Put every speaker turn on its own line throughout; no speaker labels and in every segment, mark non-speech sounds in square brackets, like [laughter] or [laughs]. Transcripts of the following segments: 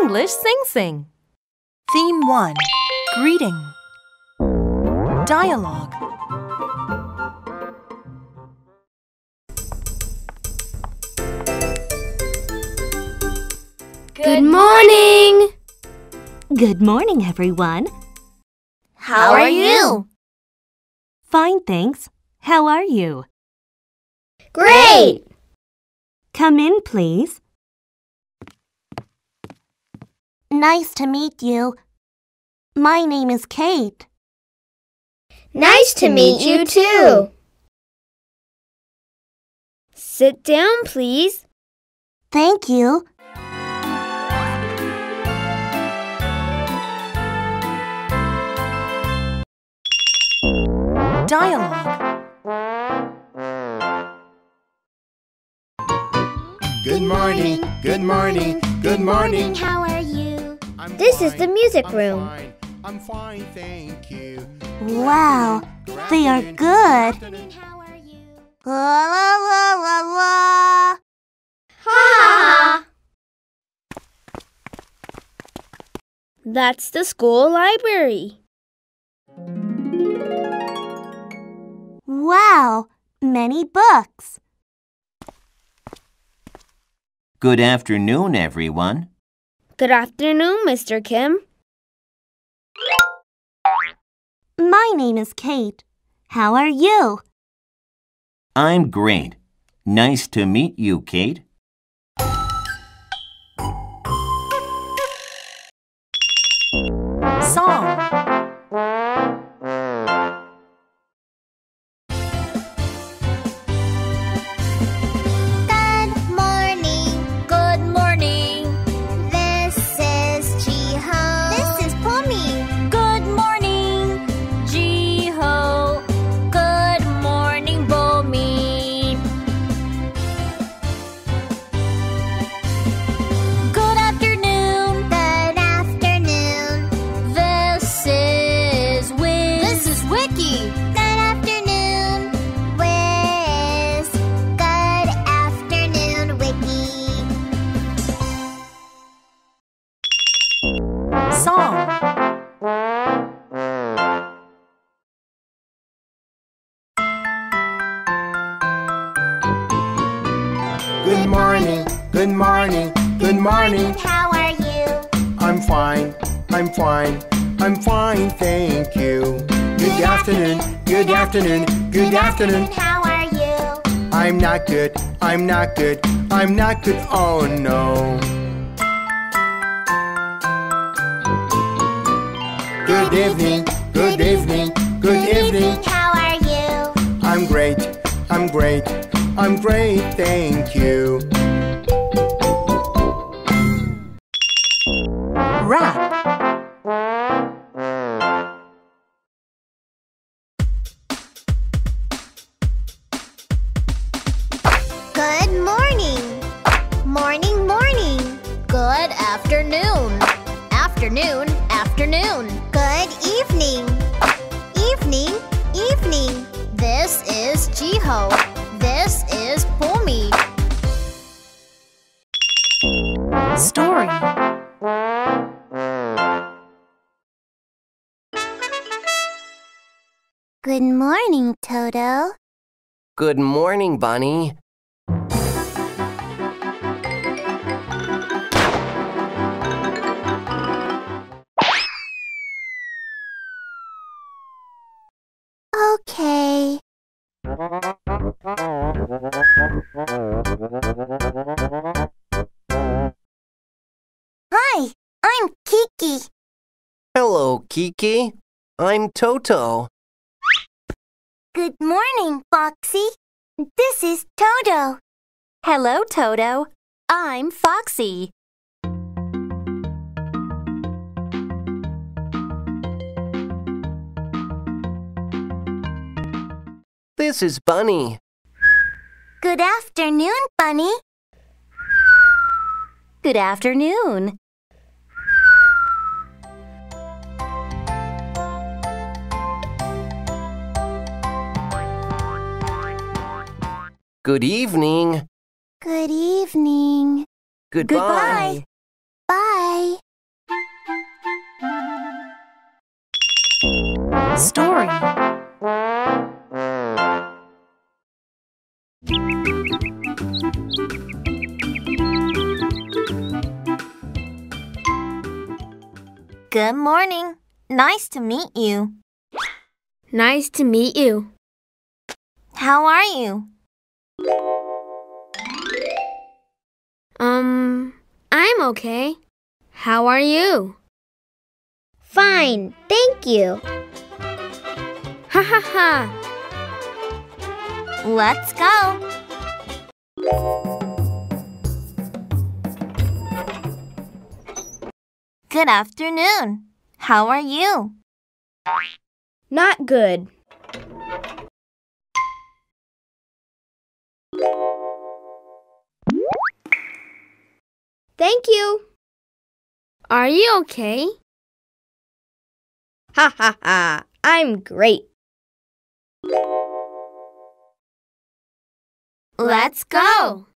English Sing Sing.
Theme 1 Greeting Dialogue
Good morning.
Good morning, everyone.
How are you?
Fine, thanks. How are you?
Great.
Come in, please.
Nice to meet you. My name is Kate.
Nice to meet you too. Sit down, please.
Thank you.
Dialogue
Good morning. Good morning. Good morning.
How are you?
I'm
This is the music
I'm
room.
fine. I'm fine, thank you.
Wow,
Good
they are
afternoon.
good.
afternoon.
La la la la la.
Ha! That's the school library.
Wow, many books.
Good afternoon, everyone.
Good afternoon, Mr. Kim.
My name is Kate. How are you?
I'm great. Nice to meet you, Kate.
Song
Good morning. Good morning. This is Jiho. This is Pumi. Good morning, Jiho. Good morning, Bomi. Good afternoon. Good afternoon. This is Wiz. This is Wiki. Good afternoon, Wiz. Good afternoon, Wiki.
Song
Good morning. Good morning. Good morning.
How are you?
I'm fine. I'm fine. I'm fine, thank you. Good afternoon. Good afternoon. Good afternoon.
How are you?
I'm not good. I'm not good. I'm not good. Oh no. Good evening. Good evening. Good evening.
How are you?
I'm great. I'm great. I'm great. Thank you.
Rap
Good morning. Morning, morning. Good afternoon. Afternoon, afternoon. Good evening. Evening, evening. This is Jiho. This is Pumi.
Story
Good morning, Toto.
Good morning, Bunny.
Okay. Hi, I'm Kiki.
Hello, Kiki. I'm Toto.
Good morning, Foxy. This is Toto. Hello, Toto. I'm Foxy.
This is Bunny.
Good afternoon, Bunny. Good afternoon.
Good evening.
Good evening.
Goodbye.
Bye.
Story.
Good morning. Nice to meet you.
Nice to meet you.
How are you?
Um, I'm okay. How are
[laughs]
you? Fine, thank you. Ha ha ha.
Let's go. Good afternoon. How are you?
Not good. Thank you. Are you okay? Ha ha ha. I'm great.
Let's go.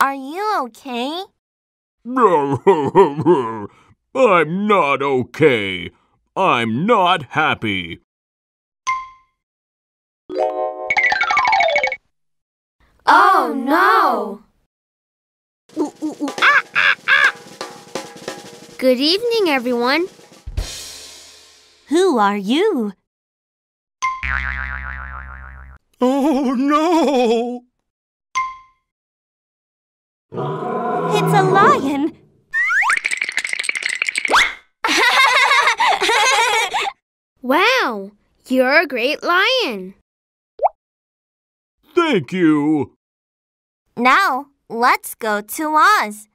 Are you okay?
I'm [laughs] not okay. I'm not happy.
Oh [laughs] no!
Good evening, everyone.
Who are you?
Oh no!
It's a lion.
Wow, you're a great lion.
Thank you.
Now, let's go to Oz.